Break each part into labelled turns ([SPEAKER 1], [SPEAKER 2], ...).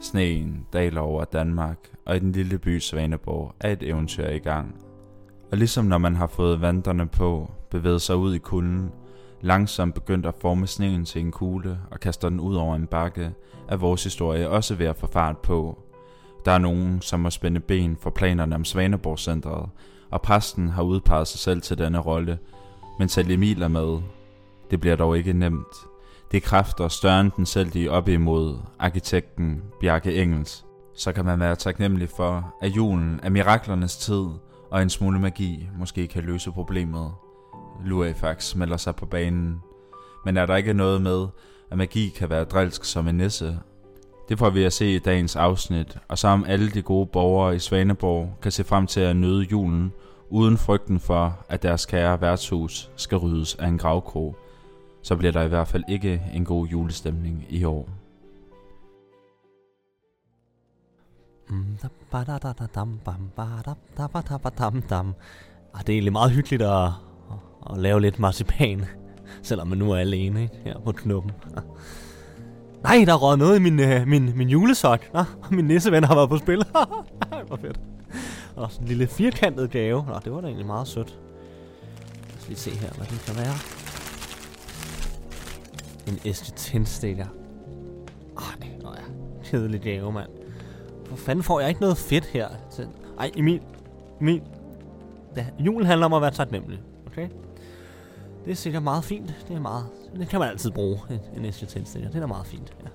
[SPEAKER 1] Sneen daler over Danmark, og i den lille by Svaneborg er et eventyr i gang. Og ligesom når man har fået vandrene på, bevæget sig ud i kulden, langsomt begyndt at forme sneen til en kugle og kaster den ud over en bakke, er vores historie også ved at få fart på. Der er nogen, som må spænde ben for planerne om Svaneborg-centret, og præsten har udpeget sig selv til denne rolle, men selv Emil er med. Det bliver dog ikke nemt. Det er kræfter større end den selv, de er op imod, arkitekten Bjarke Engels. Så kan man være taknemmelig for, at julen er miraklernes tid, og en smule magi måske kan løse problemet. Lurifax melder sig på banen. Men er der ikke noget med, at magi kan være drilsk som en nisse? Det får vi at se i dagens afsnit, og så om alle de gode borgere i Svaneborg kan se frem til at nyde julen, uden frygten for, at deres kære værtshus skal ryddes af en gravkrog, så bliver der i hvert fald ikke en god julestemning i år.
[SPEAKER 2] Mm, da ba da da da dam bam ba da da ba da ba dam dam. Ah, det er egentlig meget hyggeligt at, at lave lidt marcipan, selvom man nu er alene ikke? her på knuppen. Nej, der rød noget i min, øh, min, min julesok. Nå, min nisseven har været på spil. Nej, hvor fedt. Og sådan en lille firkantet gave. Nå, det var da egentlig meget sødt. Lad os lige se her, hvad det kan være. En æske tændstikker. Ej, nå ja. Kedelig gave, mand. Hvor fanden får jeg ikke noget fedt her? til- Ej, Emil. Emil. Ja, julen handler om at være taknemmelig. Okay? Det er sikkert meget fint. Det er meget. Det kan man altid bruge, en, en æske tændstikker. Det er da meget fint. Ja.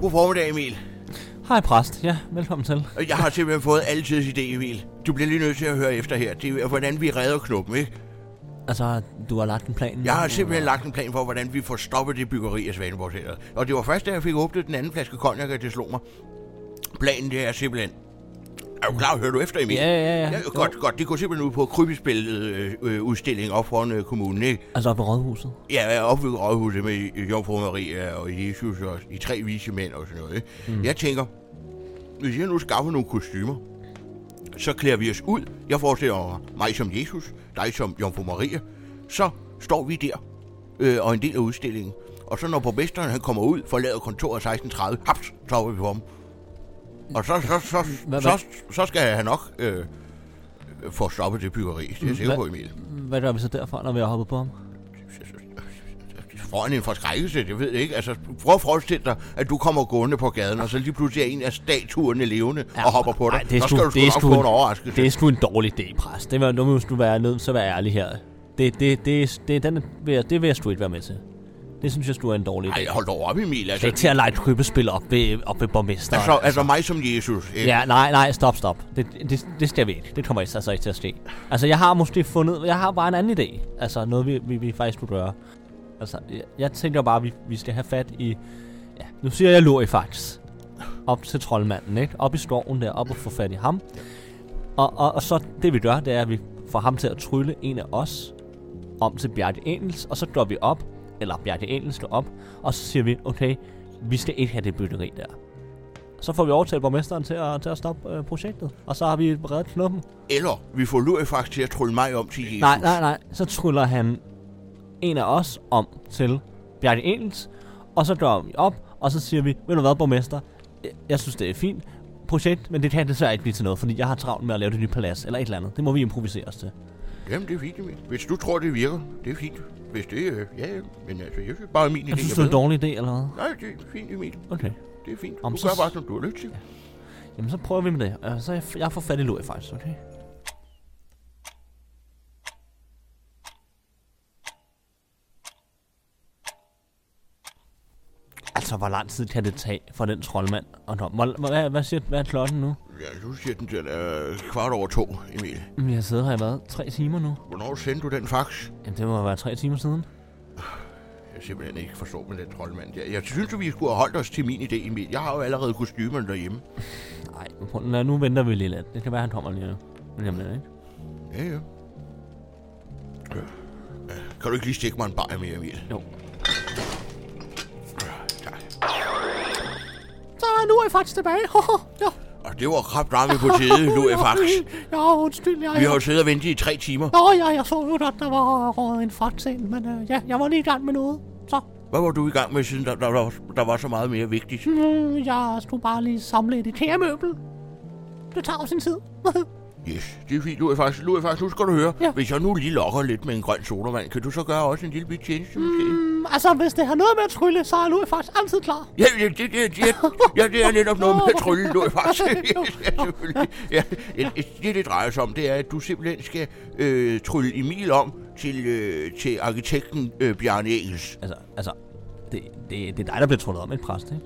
[SPEAKER 3] God formiddag, Emil.
[SPEAKER 2] Hej præst. Ja, velkommen til.
[SPEAKER 3] Øh, Jeg har simpelthen fået altidens idé, Emil. Du bliver lige nødt til at høre efter her. Det er, hvordan vi redder knuppen, ikke?
[SPEAKER 2] Altså, du har lagt en plan.
[SPEAKER 3] Jeg har simpelthen lagt en plan for, hvordan vi får stoppet det byggeri af Svaneborgsæret. Og det var først, da jeg fik åbnet den anden flaske konjak, at det slog mig. Planen det er simpelthen... Er du klar? Hører du efter, Emil?
[SPEAKER 2] Ja, ja, ja.
[SPEAKER 3] ja
[SPEAKER 2] Jo.
[SPEAKER 3] godt, godt. Det går simpelthen ud på krybespillet øh, øh, udstilling op foran øh, kommunen, ikke?
[SPEAKER 2] Altså op i rådhuset.
[SPEAKER 3] Ja, jeg opbyggede rådhuset med Jomfru Maria og Jesus og de tre vise mænd og sådan noget. Ikke? Mm. Jeg tænker, hvis jeg nu skaffer nogle kostymer, så klæder vi os ud. Jeg forestiller mig som Jesus, dig som Jomfru Maria. Så står vi der øh, og er en del af udstillingen. Og så når borgmesteren han kommer ud, forlader kontoret 16.30, haps, så er vi på ham. Og så, så, så,
[SPEAKER 2] Hvad-
[SPEAKER 3] så, så, så skal han nok øh, få stoppet det byggeri. Det er jeg sikker
[SPEAKER 2] Hvad-
[SPEAKER 3] på, Emil.
[SPEAKER 2] Hvad gør vi så derfra, når vi har hoppet på ham?
[SPEAKER 3] Får han en forskrækkelse, det ved jeg ikke. Altså, prøv at forestille dig, at du kommer gående på gaden, og så lige pludselig er en af statuerne levende ja, og hopper på dig.
[SPEAKER 2] Nej, det er
[SPEAKER 3] så
[SPEAKER 2] sgu,
[SPEAKER 3] skal du sgu
[SPEAKER 2] det er
[SPEAKER 3] nok
[SPEAKER 2] sgu
[SPEAKER 3] få
[SPEAKER 2] en-
[SPEAKER 3] en overraskelse.
[SPEAKER 2] Det er sgu en dårlig idé, præst. Det var, nu må du være nødt til at være ærlig her. Det, det, det, det, den vil jeg, det vil jeg sgu ikke være med til. Det synes jeg sgu er en dårlig idé.
[SPEAKER 3] Ej, hold dog op, Emil.
[SPEAKER 2] Det er
[SPEAKER 3] Altså,
[SPEAKER 2] ikke til at lege et krybespil op ved, op ved borgmesteren.
[SPEAKER 3] altså, altså mig som Jesus. Ikke?
[SPEAKER 2] Ja, nej, nej, stop, stop. Det, det, det skal vi ikke. Det kommer ikke, altså ikke til at ske. Altså, jeg har måske fundet... Jeg har bare en anden idé. Altså, noget vi, vi, vi faktisk skulle gøre. Altså, jeg, jeg tænker bare, at vi, vi skal have fat i... Ja, nu siger jeg Lurifax. Op til troldmanden, ikke? Op i skoven der, op og få fat i ham. Og, og, og så det vi gør, det er, at vi får ham til at trylle en af os om til Bjarke Engels, og så går vi op, eller Bjarke Engels går op, og så siger vi, okay, vi skal ikke have det bytteri der. Så får vi overtalt borgmesteren til at, til at stoppe øh, projektet, og så har vi reddet knuppen.
[SPEAKER 3] Eller vi får Lurifax til at trylle mig om til Jesus.
[SPEAKER 2] Nej, nej, nej. Så tryller han en af os om til Bjarke Engels, og så dør vi op, og så siger vi, ved du hvad, borgmester, jeg- jeg synes, det er fint projekt, men det kan desværre ikke blive til noget, fordi jeg har travlt med at lave det nye palads, eller et eller andet. Det må vi improvisere os til.
[SPEAKER 3] Jamen, det er fint, Emil. Hvis du tror, det virker, det er fint. Hvis det øh, ja, ja, men altså, jeg synes bare, min idé
[SPEAKER 2] Jeg synes,
[SPEAKER 3] er
[SPEAKER 2] det er en
[SPEAKER 3] bedre.
[SPEAKER 2] dårlig idé, eller hvad?
[SPEAKER 3] Nej, det er fint, Emil.
[SPEAKER 2] Okay.
[SPEAKER 3] Det er fint. Du
[SPEAKER 2] Om så-
[SPEAKER 3] gør bare, som du har lyst til.
[SPEAKER 2] Jamen, så prøver vi med det. Øh, Så jeg, jeg får fat i Louis, faktisk, okay? Altså, hvor lang tid kan det tage for den troldmand? Og nå, hvor, hvor- hvad, hvad, siger, hvad er klokken nu?
[SPEAKER 3] Ja, nu siger den til øh, kvart over to, Emil.
[SPEAKER 2] Jamen, Jeg sidder her i hvad? Tre timer nu?
[SPEAKER 3] Hvornår sendte du den fax?
[SPEAKER 2] Jamen, det må være tre timer siden.
[SPEAKER 3] Jeg simpelthen ikke forstår med den troldmand der. Jeg synes, at vi skulle have holdt os til min idé, Emil. Jeg har jo allerede kostymerne derhjemme.
[SPEAKER 2] Nej, men prøv- lad- nu venter vi lige lidt. Det kan være, han kommer lige nu. Men jamen, ikke?
[SPEAKER 3] Ja, ja. Øh, Kan du ikke lige stikke mig en bajer mere, Emil?
[SPEAKER 2] Jo.
[SPEAKER 3] Tak.
[SPEAKER 2] Så nu er jeg faktisk tilbage. ja.
[SPEAKER 3] Og det var krab ramme på tide, nu er faktisk.
[SPEAKER 2] Ja, undskyld. Jeg,
[SPEAKER 3] Vi har jo siddet og ventet i tre timer.
[SPEAKER 2] Nå ja, jeg så jo, at der var røget en fragt ind, men øh, ja, jeg var lige i gang med noget. Så,
[SPEAKER 3] Hvad var du i gang med, siden der, der, der, der var så meget mere vigtigt?
[SPEAKER 2] Mm, Jeg stod bare lige samle et IKEA-møbel. Det tager jo sin tid.
[SPEAKER 3] Yes, det er fint. Du er faktisk, du er faktisk nu skal du høre.
[SPEAKER 2] Ja.
[SPEAKER 3] Hvis jeg nu lige lokker lidt med en grøn sodavand, kan du så gøre også en lille bit tjeneste måske?
[SPEAKER 2] mm, altså, hvis det har noget med at trylle, så er Louis faktisk altid klar.
[SPEAKER 3] Ja, ja, det, det, det, ja, det er netop noget med at trylle, nu faktisk. ja, selvfølgelig. Ja, det, det, det drejer sig om, det er, at du simpelthen skal øh, trylle Emil om til, øh, til arkitekten øh, Bjarne Engels.
[SPEAKER 2] Altså, altså, det, det, det er dig, der bliver trullet om, ikke præst, ikke?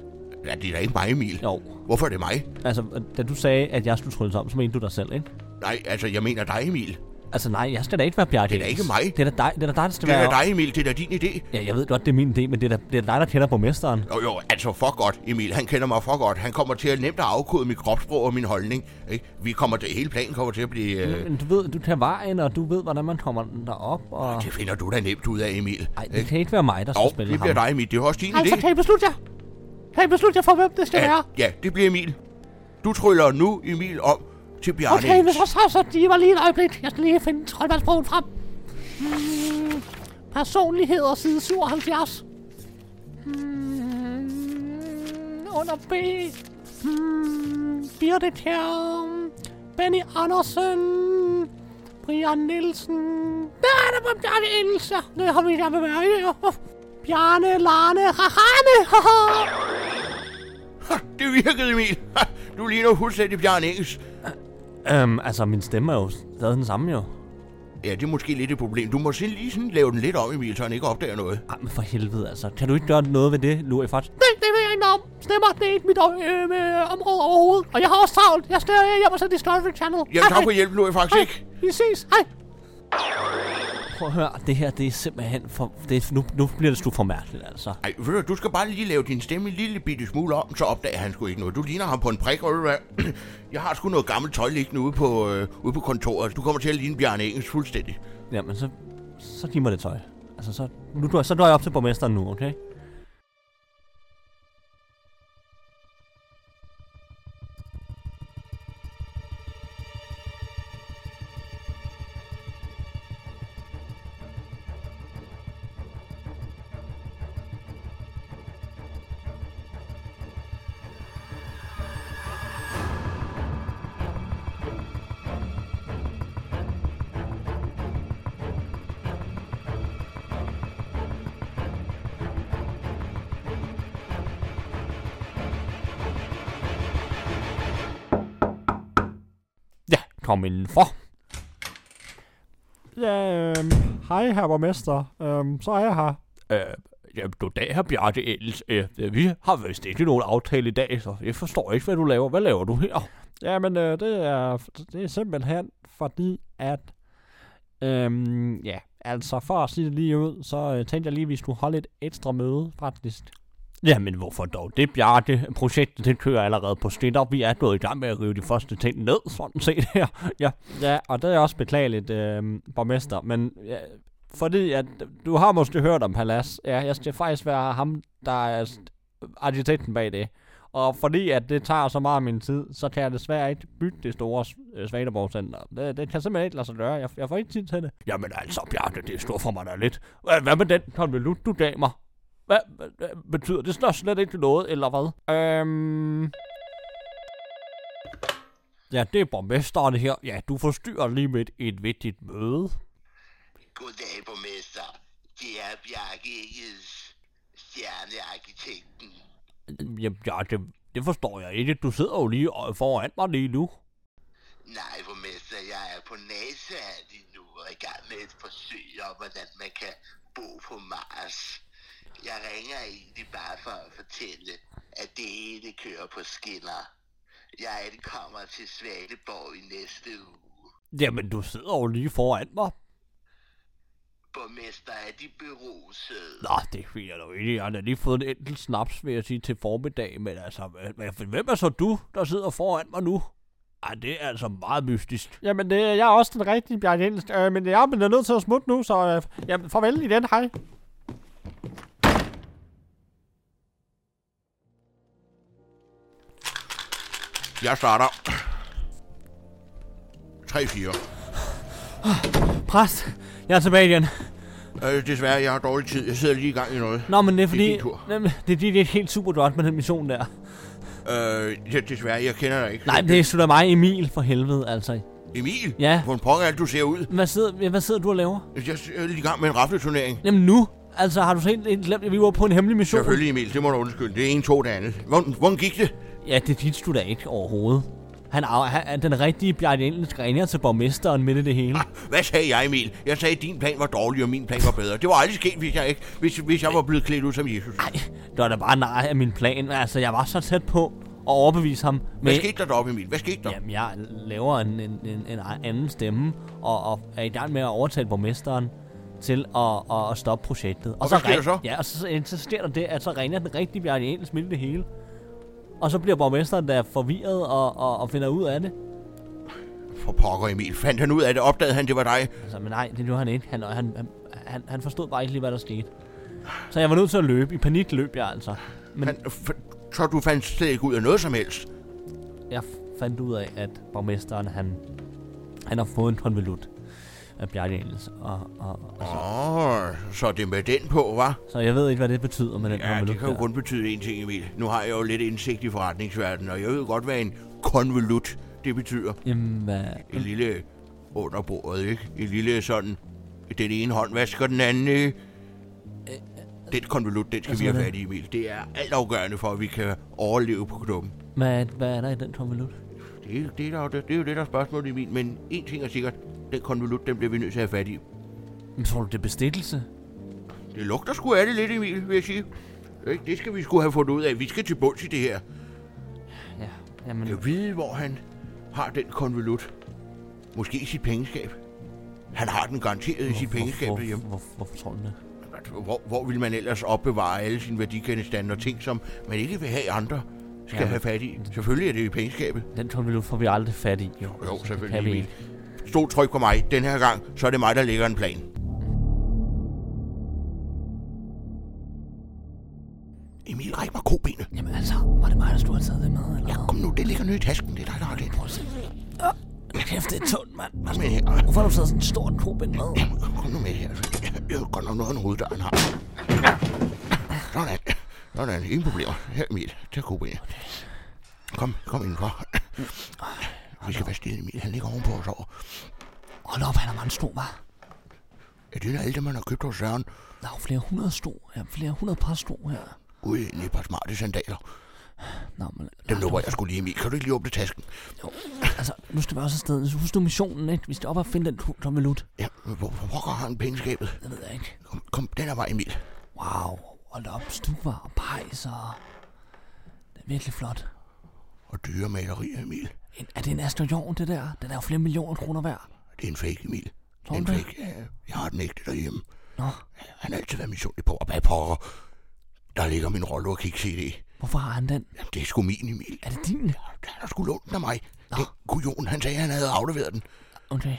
[SPEAKER 3] Ja, det er da ikke mig, Emil.
[SPEAKER 2] Jo.
[SPEAKER 3] Hvorfor er det mig?
[SPEAKER 2] Altså, da du sagde, at jeg skulle trylles om, så mente du dig selv, ikke?
[SPEAKER 3] Nej, altså, jeg mener dig, Emil.
[SPEAKER 2] Altså nej, jeg skal da ikke være Bjarke.
[SPEAKER 3] Det er da ikke mig.
[SPEAKER 2] Det er da dig, det er da dig der skal
[SPEAKER 3] Det er
[SPEAKER 2] være...
[SPEAKER 3] da dig, Emil. Det er da din idé.
[SPEAKER 2] Ja, jeg ved godt, det er min idé, men det er da, det er da dig, der kender borgmesteren.
[SPEAKER 3] Jo, jo, altså for godt, Emil. Han kender mig for godt. Han kommer til at nemt at afkode mit kropssprog og min holdning. Ikke? Vi kommer til, hele planen kommer til at blive... Øh,
[SPEAKER 2] Men du ved, du tager vejen, og du ved, hvordan man kommer derop, og...
[SPEAKER 3] det finder du da nemt ud af, Emil.
[SPEAKER 2] Ej, det kan ikke være mig, der skal
[SPEAKER 3] Jo,
[SPEAKER 2] spille
[SPEAKER 3] det bliver
[SPEAKER 2] ham.
[SPEAKER 3] dig, Emil. Det er også din idé.
[SPEAKER 4] Altså, kan I beslutte jer? Kan I beslutte jer for, hvem det skal
[SPEAKER 3] Ja,
[SPEAKER 4] være?
[SPEAKER 3] ja, det bliver Emil. Du tryller nu Emil om til Bjarne.
[SPEAKER 4] Okay, men så, så, så de var lige et øjeblik. Jeg skal lige finde troldmandsbogen frem. Mm, personligheder, side 77. Mm, under B. Mm, Birgit her. Benny Andersen. Brian Nielsen. Der er der på Bjarne Nielsen. Det har vi der med være. ja. Bjarne, Larne, Rahane. Haha.
[SPEAKER 3] Ha, det virkede Emil. Ha, du ligner fuldstændig Bjarne Engels.
[SPEAKER 2] Øhm, altså, min stemme er jo stadig den samme, jo.
[SPEAKER 3] Ja, det er måske lidt et problem. Du må selv lige sådan lave den lidt om, Emil, så han ikke opdager noget.
[SPEAKER 2] Ej, men for helvede, altså. Kan du ikke gøre noget ved det, Louis Fart?
[SPEAKER 4] Det, det ved jeg ikke noget om. Stemmer, det er ikke mit øh, øh, område overhovedet. Og jeg har også travlt. Jeg støder hjem og så Discovery Channel.
[SPEAKER 3] Jamen, tak
[SPEAKER 4] Hej.
[SPEAKER 3] for hjælpen, nu er jeg faktisk
[SPEAKER 4] Hej.
[SPEAKER 3] ikke.
[SPEAKER 4] Vi ses. Hej.
[SPEAKER 2] Prøv at høre, det her, det er simpelthen for... Det er, nu, nu bliver det sgu for mærkeligt, altså.
[SPEAKER 3] Ej, ved du, du skal bare lige lave din stemme en lille bitte smule om, så opdager han sgu ikke noget. Du ligner ham på en prik, og ved du hvad? Jeg har sgu noget gammelt tøj liggende ude på, øh, ude på kontoret. Du kommer til at ligne Bjarne Engels fuldstændig.
[SPEAKER 2] Jamen, så... Så giv mig det tøj. Altså, så... Nu, du, så dør jeg op til borgmesteren nu, okay? Ja, kom indenfor.
[SPEAKER 5] Ja, øhm, hej herre borgmester. Øhm, så er jeg her.
[SPEAKER 2] Øh, jamen, goddag, her Bjarte Edels. Øh, vi har vist ikke nogen aftale i dag, så jeg forstår ikke, hvad du laver. Hvad laver du her?
[SPEAKER 5] Jamen, øh, det, er, det er simpelthen fordi, at... Øhm, ja, altså for at sige det lige ud, så øh, tænkte jeg lige, at vi skulle holde et ekstra møde, faktisk.
[SPEAKER 2] Jamen, hvorfor dog det, Bjarte? Projektet, det kører allerede på skinner. Vi er gået i gang med at rive de første ting ned, sådan set her. Ja,
[SPEAKER 5] Ja, og det er også beklageligt, øhm, borgmester, men... Ja, fordi at, du har måske hørt om Palas. Ja, jeg skal faktisk være ham, der er s- arkitekten bag det. Og fordi at det tager så meget af min tid, så kan jeg desværre ikke bygge det store S- øh, Svaneborg Center. Det, det kan simpelthen ikke lade sig gøre. Jeg, jeg får ikke tid til det.
[SPEAKER 2] jamen altså, Bjarte, det står for mig da lidt. Hvad, hvad med den konvolut, du gav mig? Hvad, hvad, hvad betyder det snart slet ikke noget, eller hvad?
[SPEAKER 5] Øhm,
[SPEAKER 2] Ja, det er borgmesteren her. Ja, du forstyrrer lige midt i et vigtigt møde.
[SPEAKER 6] Goddag, borgmester. Det er Bjarke Engels, stjernearkitekten.
[SPEAKER 2] Jamen, ja, det, det forstår jeg ikke. Du sidder jo lige øh, foran mig lige nu.
[SPEAKER 6] Nej, borgmester, jeg er på NASA lige nu og er i gang med et forsøg om, hvordan man kan bo på Mars. Jeg ringer egentlig bare for at fortælle, at det hele kører på skinner. Jeg ankommer til Svaneborg i næste uge.
[SPEAKER 2] Jamen, du sidder jo lige foran mig.
[SPEAKER 6] Borgmester, er de berusede?
[SPEAKER 2] Nå, det vil jeg nok ikke. Jeg har da lige fået en enkelt snaps, vil jeg sige, til formiddag. Men altså, hvem- hvem er så du, der sidder foran mig nu? Ej, det er altså meget mystisk.
[SPEAKER 5] jamen, det, jeg er også den rigtige Bjarne Jensen. Øh, men jeg er nødt til at smutte nu, så øh, jamen, farvel igen. Hej.
[SPEAKER 3] Jeg starter. 3-4.
[SPEAKER 2] Præst, jeg er tilbage igen.
[SPEAKER 3] Øh, desværre, jeg har dårlig tid. Jeg sidder lige i gang i noget.
[SPEAKER 2] Nå, men det er fordi,
[SPEAKER 3] Det er
[SPEAKER 2] det
[SPEAKER 3] din tur.
[SPEAKER 2] er, jamen, det, er, fordi, det er helt super godt med den mission der.
[SPEAKER 3] Øh, ja, desværre, jeg kender dig ikke.
[SPEAKER 2] Nej, men det er sgu da mig, Emil, for helvede, altså.
[SPEAKER 3] Emil?
[SPEAKER 2] Ja.
[SPEAKER 3] På en pokker, er det, du ser ud.
[SPEAKER 2] Hvad sidder, ja, hvad sidder du og laver?
[SPEAKER 3] Jeg er lige i gang med en rafleturnering.
[SPEAKER 2] Jamen nu? Altså, har du så helt, helt glemt, at vi var på en hemmelig mission?
[SPEAKER 3] Selvfølgelig, Emil. Det må du undskylde. Det er en, to, det andet. Hvordan, hvordan gik det?
[SPEAKER 2] Ja, det vidste du da ikke overhovedet. Han er, han er den rigtige Bjarne Engels ringer til borgmesteren midt i det hele.
[SPEAKER 3] Hvad sagde jeg, Emil? Jeg sagde, at din plan var dårlig, og min plan var bedre. Det var aldrig sket, hvis jeg, ikke, hvis, hvis jeg var blevet klædt ud som Jesus.
[SPEAKER 2] Nej, det var da bare nej af min plan. Altså, jeg var så tæt på at overbevise ham.
[SPEAKER 3] Hvad
[SPEAKER 2] Men,
[SPEAKER 3] skete der deroppe, Emil? Hvad skete der?
[SPEAKER 2] jamen, jeg laver en, en, en, en anden stemme, og, og er i gang med at overtale borgmesteren til at, at, at stoppe projektet. Og,
[SPEAKER 3] hvad sker
[SPEAKER 2] ring-
[SPEAKER 3] der så?
[SPEAKER 2] Ja, og så insisterer der det, at så ringer den rigtige Bjarne Engels midt i det hele. Og så bliver borgmesteren da forvirret og, og, og finder ud af det.
[SPEAKER 3] For pokker, Emil. Fandt han ud af det? Opdagede han, det var dig?
[SPEAKER 2] Altså, men nej, det gjorde han ikke. Han, han, han, han, han forstod bare ikke lige, hvad der skete. Så jeg var nødt til at løbe. I panik løb jeg altså. Men
[SPEAKER 3] Han, f- så du fandt slet ikke ud af noget som helst?
[SPEAKER 2] jeg fandt ud af, at borgmesteren, han, han har fået en konvolut af Bjarne Engels. Og, og, og,
[SPEAKER 3] Åh, oh, så det er med den på, var?
[SPEAKER 2] så jeg ved ikke, hvad det betyder med den
[SPEAKER 3] Ja,
[SPEAKER 2] konvolut
[SPEAKER 3] det kan jo
[SPEAKER 2] der.
[SPEAKER 3] kun betyde én ting, Emil. Nu har jeg jo lidt indsigt i forretningsverdenen, og jeg ved godt, hvad en konvolut det betyder.
[SPEAKER 2] Jamen, hvad?
[SPEAKER 3] En lille under bordet, ikke? En lille sådan... Den ene hånd vasker den anden, ikke? Den konvolut, den skal vi
[SPEAKER 2] Øh, siger
[SPEAKER 3] have
[SPEAKER 2] du?
[SPEAKER 3] fat i, Emil. Det er altafgørende for, at vi kan overleve på klubben.
[SPEAKER 2] Hvad, hvad er der i den konvolut?
[SPEAKER 3] Det, er- det, er, der, det er jo det, der er spørgsmålet, Emil. Men én ting er sikkert. Den konvolut, den bliver vi nødt til at have fat i.
[SPEAKER 2] Men tror du, det er bestikkelse?
[SPEAKER 3] Det lugter sgu af det lidt, Emil, vil jeg sige. Ikke? Det skal vi skulle have fundet ud af. Vi skal til bunds i det her.
[SPEAKER 2] Ja, jamen,
[SPEAKER 3] Jeg vide, hvor han har den konvolut. Måske i sit pengeskab. Han har den garanteret i sit pengeskab
[SPEAKER 2] hvor,
[SPEAKER 3] derhjemme.
[SPEAKER 2] hvor, hvor, hvorfor tror du det?
[SPEAKER 3] Hvor, hvor vil man ellers opbevare alle sine værdigenstande og ting, som man ikke vil have andre skal
[SPEAKER 2] Ja.
[SPEAKER 3] have fat i? Selvfølgelig er det i pengeskabet.
[SPEAKER 2] Den konvolut får vi aldrig fat i. Jo,
[SPEAKER 3] Jo,
[SPEAKER 2] så det
[SPEAKER 3] selvfølgelig.
[SPEAKER 2] kan vi
[SPEAKER 3] Emil.
[SPEAKER 2] ikke.
[SPEAKER 3] Stol tryk på mig. Den her gang, så er det mig, der lægger en plan. Emil, ræk mig kobenet.
[SPEAKER 2] Jamen altså, var det mig, der skulle have taget det med, eller hvad?
[SPEAKER 3] Kom nu, det ligger nede i tasken. Det er dig, der har det. Prøv at se.
[SPEAKER 2] Kæft, det er tungt, mand.
[SPEAKER 3] Kom med her.
[SPEAKER 2] Hvorfor har du taget sådan en stor kobind med?
[SPEAKER 3] Kom nu med her. Jeg har godt nok noget af en hoveddør, han har. Sådan. Sådan. Ingen problemer. Her, Emil. Tag kobenet. Kom, kom indenfor. Vi skal være stille, Emil. Han ligger ovenpå og sover.
[SPEAKER 2] Hold op, han er meget stor, hva'?
[SPEAKER 3] Er det en af alle dem, man har købt hos Søren?
[SPEAKER 2] Der er jo flere hundrede sto her. Flere hundrede par sto her.
[SPEAKER 3] Gud, en et par smarte sandaler.
[SPEAKER 2] Nå, men...
[SPEAKER 3] Dem lukker jeg skulle lige, Emil. Kan du ikke lige åbne tasken?
[SPEAKER 2] Jo. Altså, nu skal vi også afsted. Så Husk du missionen, ikke? Vi skal op og finde den tommelut.
[SPEAKER 3] Ja, hvor, hvor pokker har han pengeskabet?
[SPEAKER 2] Det ved jeg ikke.
[SPEAKER 3] Kom, kom, den er vej, Emil.
[SPEAKER 2] Wow. Hold op, stuer og pejs og... Det er virkelig flot.
[SPEAKER 3] Og dyre malerier, Emil.
[SPEAKER 2] En, er det en Astor Jorn, det der? Den er jo flere millioner kroner værd.
[SPEAKER 3] Det er en fake, Emil. Det er en
[SPEAKER 2] Tror du det?
[SPEAKER 3] fake. Ja, jeg har den ægte derhjemme.
[SPEAKER 2] Nå,
[SPEAKER 3] Han har altid været misundelig på, og hvad pokker. Der ligger min rolle og kigge CD.
[SPEAKER 2] hvorfor har han den?
[SPEAKER 3] Jamen, det er sgu min, Emil.
[SPEAKER 2] Er det din?
[SPEAKER 3] Han har sgu lånt den af mig. Den kujon, han sagde, han havde afleveret den.
[SPEAKER 2] Okay.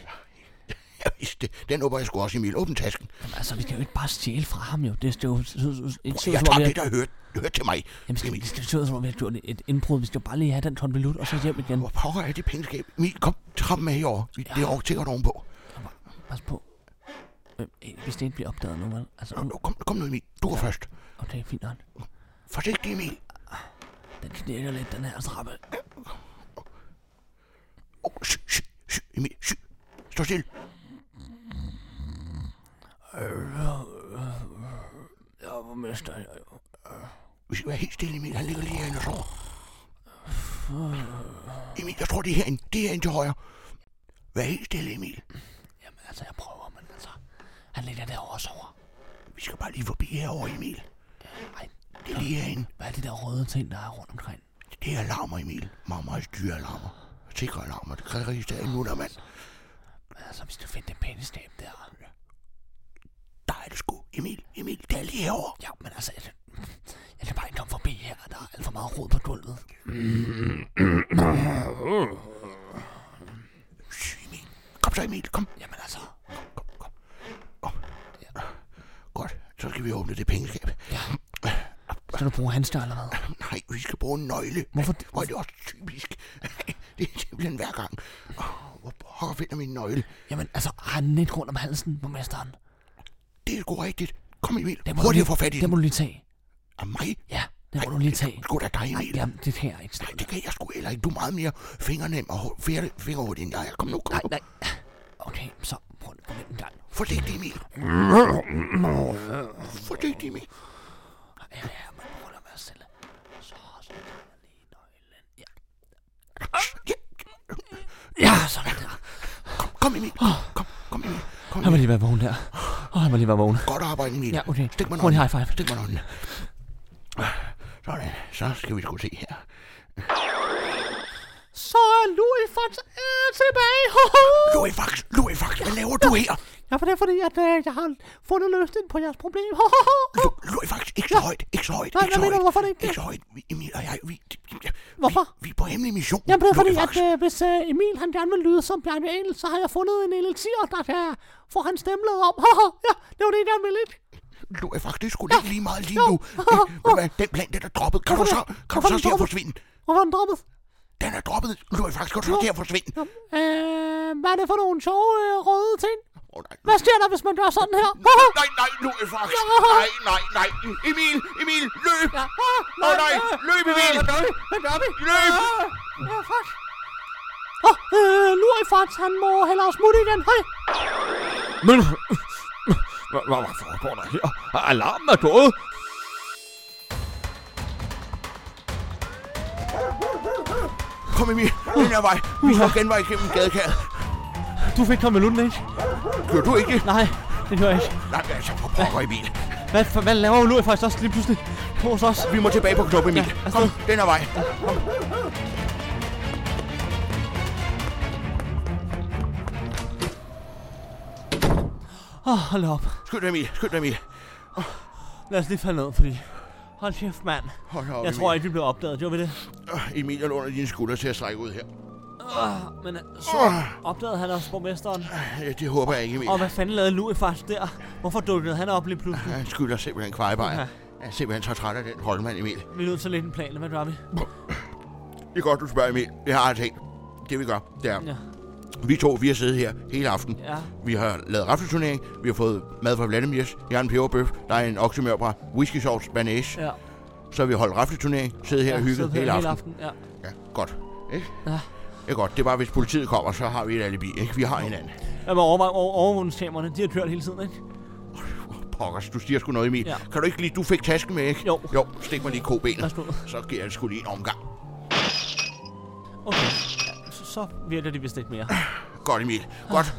[SPEAKER 3] Jeg vidste det. Den åbner jeg sgu også, Emil. Åbn tasken.
[SPEAKER 2] Jamen, altså, vi kan jo ikke bare stjæle fra ham, jo. Det er jo... Det er
[SPEAKER 3] Jeg tager det, der hørte, hørte til mig.
[SPEAKER 2] Jamen, skal, vi- det skal jo som om, vi har gjort et indbrud. Vi skal jo bare lige have den konvolut, og så hjem igen.
[SPEAKER 3] Hvor pokker er det pengeskab? Emil, kom, trappen med herover. Det er over sikkert ovenpå.
[SPEAKER 2] Pas på. Øh, Hvis det ikke bliver opdaget nu, vel? Altså, nu,
[SPEAKER 3] Kom, kom nu, Emil. Du går først.
[SPEAKER 2] okay, fint nok.
[SPEAKER 3] Forsigtig, Emil.
[SPEAKER 2] Den knirker lidt, den her trappe.
[SPEAKER 3] Oh, sh, sh, sh, Emil, sh. Stå stille.
[SPEAKER 2] Ja, hvor mister øh, jeg jo.
[SPEAKER 3] Vi skal være helt stille, Emil. Han ligger lige herinde og sover. Emil, jeg tror, det er herinde. Det er herinde til højre. Vær helt stille, Emil.
[SPEAKER 2] Jamen, altså, jeg prøver, men altså... Han ligger derovre og sover.
[SPEAKER 3] Vi skal bare lige forbi herover, Emil.
[SPEAKER 2] Ej,
[SPEAKER 3] Det er lige herinde.
[SPEAKER 2] hvad er de der røde ting, der er rundt omkring?
[SPEAKER 3] Det er alarmer, Emil. Meget, meget dyre alarmer. Sikre alarmer. Det kan registrere nu, der mand.
[SPEAKER 2] Altså, vi skal finde det pænestab der.
[SPEAKER 3] Der er det sgu. Emil, Emil, det er lige herover.
[SPEAKER 2] Ja, men altså... Jeg, jeg kan bare ikke komme forbi her, der er alt for meget rod på gulvet.
[SPEAKER 3] Shh, Emil. Kom så, Emil. Kom,
[SPEAKER 2] Jamen altså...
[SPEAKER 3] kom, kom. Kom. Godt. Så skal vi åbne det pengeskab.
[SPEAKER 2] Skal du bruge hans der eller hvad?
[SPEAKER 3] Nej, vi skal bruge en nøgle.
[SPEAKER 2] Hvorfor
[SPEAKER 3] det? Hvor er det også typisk. det er simpelthen hver gang. Åh, Hvor pokker finder min nøgle?
[SPEAKER 2] Jamen altså, har han den ikke rundt om halsen, borgmesteren?
[SPEAKER 3] Det er sgu rigtigt. Kom Emil,
[SPEAKER 2] Den må du
[SPEAKER 3] hurtigt
[SPEAKER 2] lige-
[SPEAKER 3] at få fat i
[SPEAKER 2] Den
[SPEAKER 3] den.
[SPEAKER 2] må du lige tage.
[SPEAKER 3] Af mig?
[SPEAKER 2] Ja, den må
[SPEAKER 3] Ej,
[SPEAKER 2] du lige
[SPEAKER 3] det er
[SPEAKER 2] tage.
[SPEAKER 3] Sgu da dig, Emil.
[SPEAKER 2] Jamen, det her er ikke
[SPEAKER 3] Nej,
[SPEAKER 2] snart.
[SPEAKER 3] det kan jeg sgu heller ikke. Du er meget mere fingernem og hår- fjer- fingerhurtig end jeg. er. Kom nu, kom nu.
[SPEAKER 2] Nej. Okay, så prøv prøv lige en gang.
[SPEAKER 3] Forsigtig, Emil. Forsigtig, Emil.
[SPEAKER 2] Ja, ja, men prøv at være stille. Så, så tager jeg lige nøglen. Ja,
[SPEAKER 3] Ja,
[SPEAKER 2] ja sådan der.
[SPEAKER 3] Kom, kom, Emil. Kom, kom, Emil.
[SPEAKER 2] Han
[SPEAKER 3] Kom,
[SPEAKER 2] må
[SPEAKER 3] Emil.
[SPEAKER 2] lige være vågen der. Åh, han må lige være vågen.
[SPEAKER 3] Godt arbejde, Emil.
[SPEAKER 2] Ja, okay.
[SPEAKER 3] Stik mig
[SPEAKER 2] Prøv en
[SPEAKER 3] hånden.
[SPEAKER 2] high five.
[SPEAKER 3] Stik mig hånden. Sådan, så skal vi sgu se her.
[SPEAKER 4] Så er Louis Fons øh, tilbage.
[SPEAKER 3] Louis Fax, Louis Fax, hvad laver du her?
[SPEAKER 4] ja, for det er fordi, at øh, jeg har fundet løsningen på jeres problem.
[SPEAKER 3] Lu- Louis Fax, ikke så højt, ikke så højt,
[SPEAKER 4] Hvad-
[SPEAKER 3] ikke så
[SPEAKER 4] hvad mener
[SPEAKER 3] højt.
[SPEAKER 4] du? Hvorfor det ikke?
[SPEAKER 3] Ikke så højt. Vi- Emil og jeg, vi... vi-
[SPEAKER 4] Hvorfor?
[SPEAKER 3] Vi er på hemmelig mission.
[SPEAKER 4] Jamen, det er fordi,
[SPEAKER 3] Louis
[SPEAKER 4] at
[SPEAKER 3] Fax.
[SPEAKER 4] øh, hvis øh, Emil han gerne vil lyde som Bjarne Engel, så har jeg fundet en elixir, der kan få hans stemme lavet om. ja, det var det, jeg gerne ville, ikke?
[SPEAKER 3] Du er faktisk sgu ikke lige meget lige
[SPEAKER 4] øh, Jo.
[SPEAKER 3] nu. Øh, ved du hvad, den plan, den er droppet. Kan du så, kan du
[SPEAKER 4] Hvorfor
[SPEAKER 3] så
[SPEAKER 4] den
[SPEAKER 3] se at
[SPEAKER 4] droppet?
[SPEAKER 3] forsvinde?
[SPEAKER 4] Og var den droppet?
[SPEAKER 3] Den er droppet. Du er faktisk, kan du så se at forsvinde?
[SPEAKER 4] Ja. Øh, hvad er det for nogle sjove øh, røde ting?
[SPEAKER 3] Åh, nej.
[SPEAKER 4] Hvad sker der, hvis man gør sådan her?
[SPEAKER 3] Nej, nej, nu er faktisk.
[SPEAKER 4] Ja.
[SPEAKER 3] Nej, nej, nej. Emil, Emil, løb.
[SPEAKER 4] Ja.
[SPEAKER 3] Åh, nej, løb, Emil.
[SPEAKER 4] Hvad gør vi?
[SPEAKER 3] Løb.
[SPEAKER 4] Ja, fuck. Åh, øh, Lurifats, han må hellere smutte igen. Hej.
[SPEAKER 5] Men... Hvad, hvad, hvad foregår der her? Alarmen er gået!
[SPEAKER 3] Kom, Emil, den her vej. Vi skal genvej gennem gadekæret.
[SPEAKER 2] Du fik kommet minutten, ikke?
[SPEAKER 3] Gør du ikke det?
[SPEAKER 2] Nej, det gør jeg ikke.
[SPEAKER 3] Nej, altså, for pokker, Emil.
[SPEAKER 2] Hvad, for, hvad laver Ulrik faktisk også lige pludselig hos os?
[SPEAKER 3] Vi må tilbage på knop, Emil. Kom, den her vej.
[SPEAKER 2] Åh, oh, hold da op.
[SPEAKER 3] Skynd dig, Emil. Skynd dig, Emil.
[SPEAKER 2] Lad os lige falde ned, fordi... Hold kæft, mand.
[SPEAKER 3] Hold da op,
[SPEAKER 2] Jeg
[SPEAKER 3] Emil.
[SPEAKER 2] tror ikke, vi blev opdaget, gjorde vi det?
[SPEAKER 3] Øh, Emil, jeg låner dine skuldre til at strække ud her.
[SPEAKER 2] Uh, men øh, så opdagede han også borgmesteren.
[SPEAKER 3] Ja, det håber jeg ikke, Emil.
[SPEAKER 2] Og hvad fanden lavede Louis faktisk der? Hvorfor dukkede han op lige pludselig?
[SPEAKER 3] Han skylder simpelthen kvejebejer.
[SPEAKER 2] Ja.
[SPEAKER 3] Jeg er simpelthen så træt af den Holman, Emil.
[SPEAKER 2] Vi er nødt til at lægge en plan, hvad gør vi?
[SPEAKER 3] Det er godt, du spørger, Emil. Det har jeg tænkt. Det vi gør, det er...
[SPEAKER 2] Ja.
[SPEAKER 3] Vi to, vi har siddet her hele aften.
[SPEAKER 2] Ja.
[SPEAKER 3] Vi har lavet raffelturnering. Vi har fået mad fra Vladimir's. Jeg har en peberbøf. Der er en oksemørbræ. Whisky sauce, banage.
[SPEAKER 2] Ja.
[SPEAKER 3] Så har vi holdt raffelturnering. Siddet her og hygget
[SPEAKER 2] sidde
[SPEAKER 3] hele,
[SPEAKER 2] her
[SPEAKER 3] aften.
[SPEAKER 2] Ja.
[SPEAKER 3] Ja, godt. Ikke?
[SPEAKER 2] Ja.
[SPEAKER 3] Det er godt. Det er bare, hvis politiet kommer, så har vi et alibi. Ikke? Vi har hinanden.
[SPEAKER 2] Jamen, over, over, overvågningskamerne, de har kørt hele tiden, ikke?
[SPEAKER 3] Pokkers, du siger sgu noget, Emil.
[SPEAKER 2] Ja.
[SPEAKER 3] Kan du ikke lige... Du fik tasken med, ikke?
[SPEAKER 2] Jo.
[SPEAKER 3] Jo, stik mig lige kobenet.
[SPEAKER 2] Værsgo.
[SPEAKER 3] Så giver jeg sgu lige en omgang.
[SPEAKER 2] Okay. Ja, så, så virker de vist ikke mere.
[SPEAKER 3] Godt, Emil.
[SPEAKER 2] Ah.
[SPEAKER 3] Godt.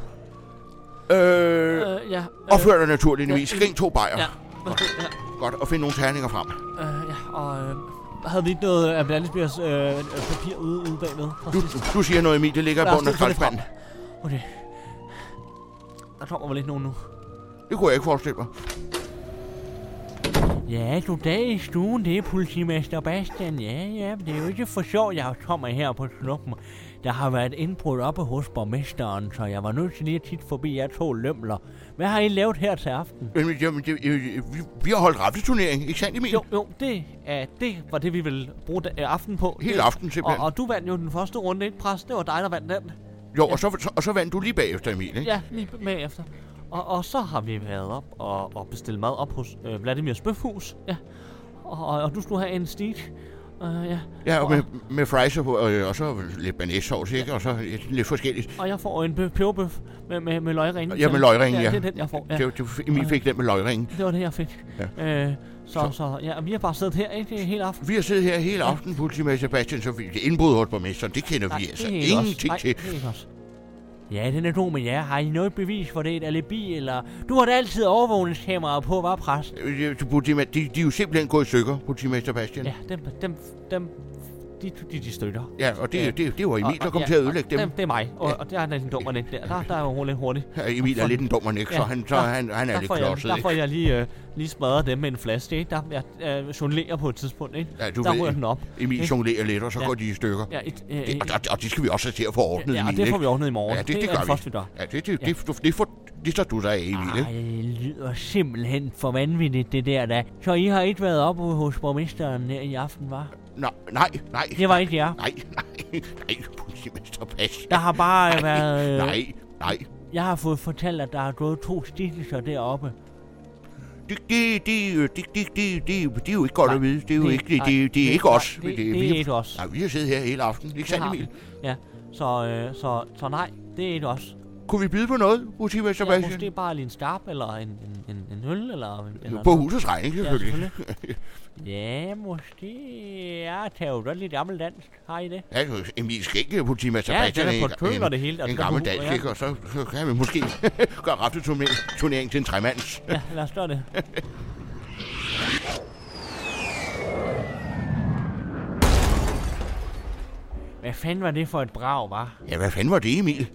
[SPEAKER 3] Øh,
[SPEAKER 2] Øh, ja.
[SPEAKER 3] opfør dig naturligvis.
[SPEAKER 2] ja,
[SPEAKER 3] Skring to bajer.
[SPEAKER 2] Ja. Værsgo, ja.
[SPEAKER 3] Godt, og find nogle terninger frem.
[SPEAKER 2] Øh, ja, og øh, havde vi ikke noget af Blandesbjergs øh, øh, papir ude, ude bagved? fra
[SPEAKER 3] Du,
[SPEAKER 2] sidst?
[SPEAKER 3] du siger noget, Emil. Det ligger i
[SPEAKER 2] Lad os
[SPEAKER 3] bunden af
[SPEAKER 2] lige finde det
[SPEAKER 3] skraldspanden.
[SPEAKER 2] Okay. Der kommer vel ikke nogen nu.
[SPEAKER 3] Det kunne jeg ikke forestille mig.
[SPEAKER 2] Ja, goddag i stuen, det er politimester Bastian. Ja, ja, men det er jo ikke for sjovt, jeg kommer her på snuppen. Der har været indbrud oppe hos borgmesteren, så jeg var nødt til lige at titte forbi jer to lømler. Hvad har I lavet her til aften?
[SPEAKER 3] Jamen, jamen det, øh, vi, vi har holdt rafteturnering, ikke sandt, Emil?
[SPEAKER 2] Jo, jo, det, er, det var det, vi ville bruge da, øh, aften på.
[SPEAKER 3] Hele
[SPEAKER 2] Det-
[SPEAKER 3] aften simpelthen.
[SPEAKER 2] Og, og, du vandt jo den første runde, ikke, præst? Det var dig, der vandt den.
[SPEAKER 3] Jo, og så, så, og så vandt du lige bagefter, Emil, ikke?
[SPEAKER 2] Ja, lige med efter. Og, og så har vi været op og, og bestilt mad op hos øh, Vladimirs Bøfhus. Ja. Og, og, og du skulle have en stik. Uh, ja.
[SPEAKER 3] Ja, og
[SPEAKER 2] og,
[SPEAKER 3] med, med fries og, og, og så lidt banæssauce, ikke? Og så lidt lidt forskelligt.
[SPEAKER 2] og jeg får en bøf, peberbøf med, med, med løgringen.
[SPEAKER 3] Ja, med løgringen, ja.
[SPEAKER 2] Det er den, jeg får. Ja.
[SPEAKER 3] Det, var- det, Emil fik den med løgringen.
[SPEAKER 2] Det var det, jeg fik. Ja. Øh, så, så. så ja, vi har bare siddet her ikke, hele aften.
[SPEAKER 3] Vi har siddet her hele aften, politimester Sebastian, så vi, det indbrud hos borgmesteren, det kender vi altså
[SPEAKER 2] ikke os.
[SPEAKER 3] ingenting
[SPEAKER 2] Nej,
[SPEAKER 3] til.
[SPEAKER 2] det er ikke os. Ja, den er god med jer. Har I noget bevis for det? Et alibi, eller... Du har da altid overvågningskameraer på, var præst?
[SPEAKER 3] Øh, øh, politimester- De, de er jo simpelthen gået i stykker, politimester Sebastian.
[SPEAKER 2] Ja, dem, dem, dem, de, de, de støtter.
[SPEAKER 3] Ja, og det, det, det, var Emil, der kom
[SPEAKER 2] ja,
[SPEAKER 3] til at ødelægge
[SPEAKER 2] og
[SPEAKER 3] dem.
[SPEAKER 2] Det er mig, og, og der er lidt en dummer lidt der. Der, der er jo lidt hurtigt.
[SPEAKER 3] Ja, Emil er lidt en dummer ikke, så
[SPEAKER 2] Ja,
[SPEAKER 3] han, så
[SPEAKER 2] der-
[SPEAKER 3] han, han er
[SPEAKER 2] Der
[SPEAKER 3] lidt
[SPEAKER 2] får, jeg,
[SPEAKER 3] klodset.
[SPEAKER 2] der
[SPEAKER 3] ikke?
[SPEAKER 2] får jeg lige, øh, lige smadret dem med en flaske, ikke? Der, jeg øh, jonglerer på et tidspunkt, ikke?
[SPEAKER 3] Ja, du
[SPEAKER 2] der
[SPEAKER 3] ved,
[SPEAKER 2] rører den op.
[SPEAKER 3] Emil
[SPEAKER 2] ikke?
[SPEAKER 3] jonglerer lidt, og så
[SPEAKER 2] Ja.
[SPEAKER 3] går de i stykker.
[SPEAKER 2] Ja, et, øh,
[SPEAKER 3] Det,
[SPEAKER 2] øh,
[SPEAKER 3] og, og, og det skal vi også have til at få ordnet,
[SPEAKER 2] ja, og
[SPEAKER 3] Emil,
[SPEAKER 2] det får
[SPEAKER 3] ikke?
[SPEAKER 2] vi ordnet i morgen.
[SPEAKER 3] Ja, det- det
[SPEAKER 2] er
[SPEAKER 3] gør vi.
[SPEAKER 2] første, vi gør.
[SPEAKER 3] Ja, det, det, det, det, det, får, det tager du dig af, Emil,
[SPEAKER 2] Ej,
[SPEAKER 3] ikke?
[SPEAKER 2] det lyder simpelthen for vanvittigt, det der da. Så I har ikke været oppe hos borgmesteren her i aften, var?
[SPEAKER 3] Nej, nej, nej.
[SPEAKER 2] Det var ikke jer.
[SPEAKER 3] Nej, nej, nej, politimester Sebastian.
[SPEAKER 2] Der har bare øh, været... Øh,
[SPEAKER 3] Nej, nej,
[SPEAKER 2] Jeg har fået fortalt, at der er gået to stikkelser deroppe.
[SPEAKER 3] det, det, det, det, det, det, det, det er jo ikke godt
[SPEAKER 2] Nej,
[SPEAKER 3] at vide. Det er jo
[SPEAKER 2] det-
[SPEAKER 3] ikke, det,
[SPEAKER 2] nej,
[SPEAKER 3] det, det er
[SPEAKER 2] det-
[SPEAKER 3] ikke os.
[SPEAKER 2] nej, det-
[SPEAKER 3] er
[SPEAKER 2] det er
[SPEAKER 3] vi-
[SPEAKER 2] ikke os.
[SPEAKER 3] Nej, vi har siddet her hele aftenen. Ikke sandt,
[SPEAKER 2] har vi.
[SPEAKER 3] Emil?
[SPEAKER 2] Ja, så, øh, så, så nej, det er ikke os.
[SPEAKER 3] Kunne vi byde på noget, Motiva
[SPEAKER 2] Ja,
[SPEAKER 3] Sebastian?
[SPEAKER 2] måske bare lige en skarp, eller en, en, en, en øl, eller... en- eller
[SPEAKER 3] På
[SPEAKER 2] noget.
[SPEAKER 3] husets regning, selvfølgelig.
[SPEAKER 2] Ja, selvfølgelig. ja, måske... Jeg tager jo godt lidt gammel dansk. Har I det?
[SPEAKER 3] Ja, altså, Emil skal ikke på Tima Sebastian.
[SPEAKER 2] den er på
[SPEAKER 3] en-
[SPEAKER 2] køl
[SPEAKER 3] en-
[SPEAKER 2] og det hele, og
[SPEAKER 3] En
[SPEAKER 2] den er
[SPEAKER 3] gammel
[SPEAKER 2] på hus,
[SPEAKER 3] dansk,
[SPEAKER 2] ja.
[SPEAKER 3] ikke? Og så, så kan vi måske gøre rafteturnering til en tremands.
[SPEAKER 2] Ja, lad os gøre det. Hvad fanden var det for et brag, var?
[SPEAKER 3] Ja, hvad fanden var det, Emil?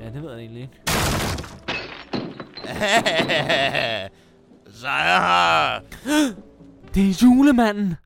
[SPEAKER 2] Ja, det ved jeg egentlig ikke.
[SPEAKER 3] Sejr!
[SPEAKER 2] Det er julemanden!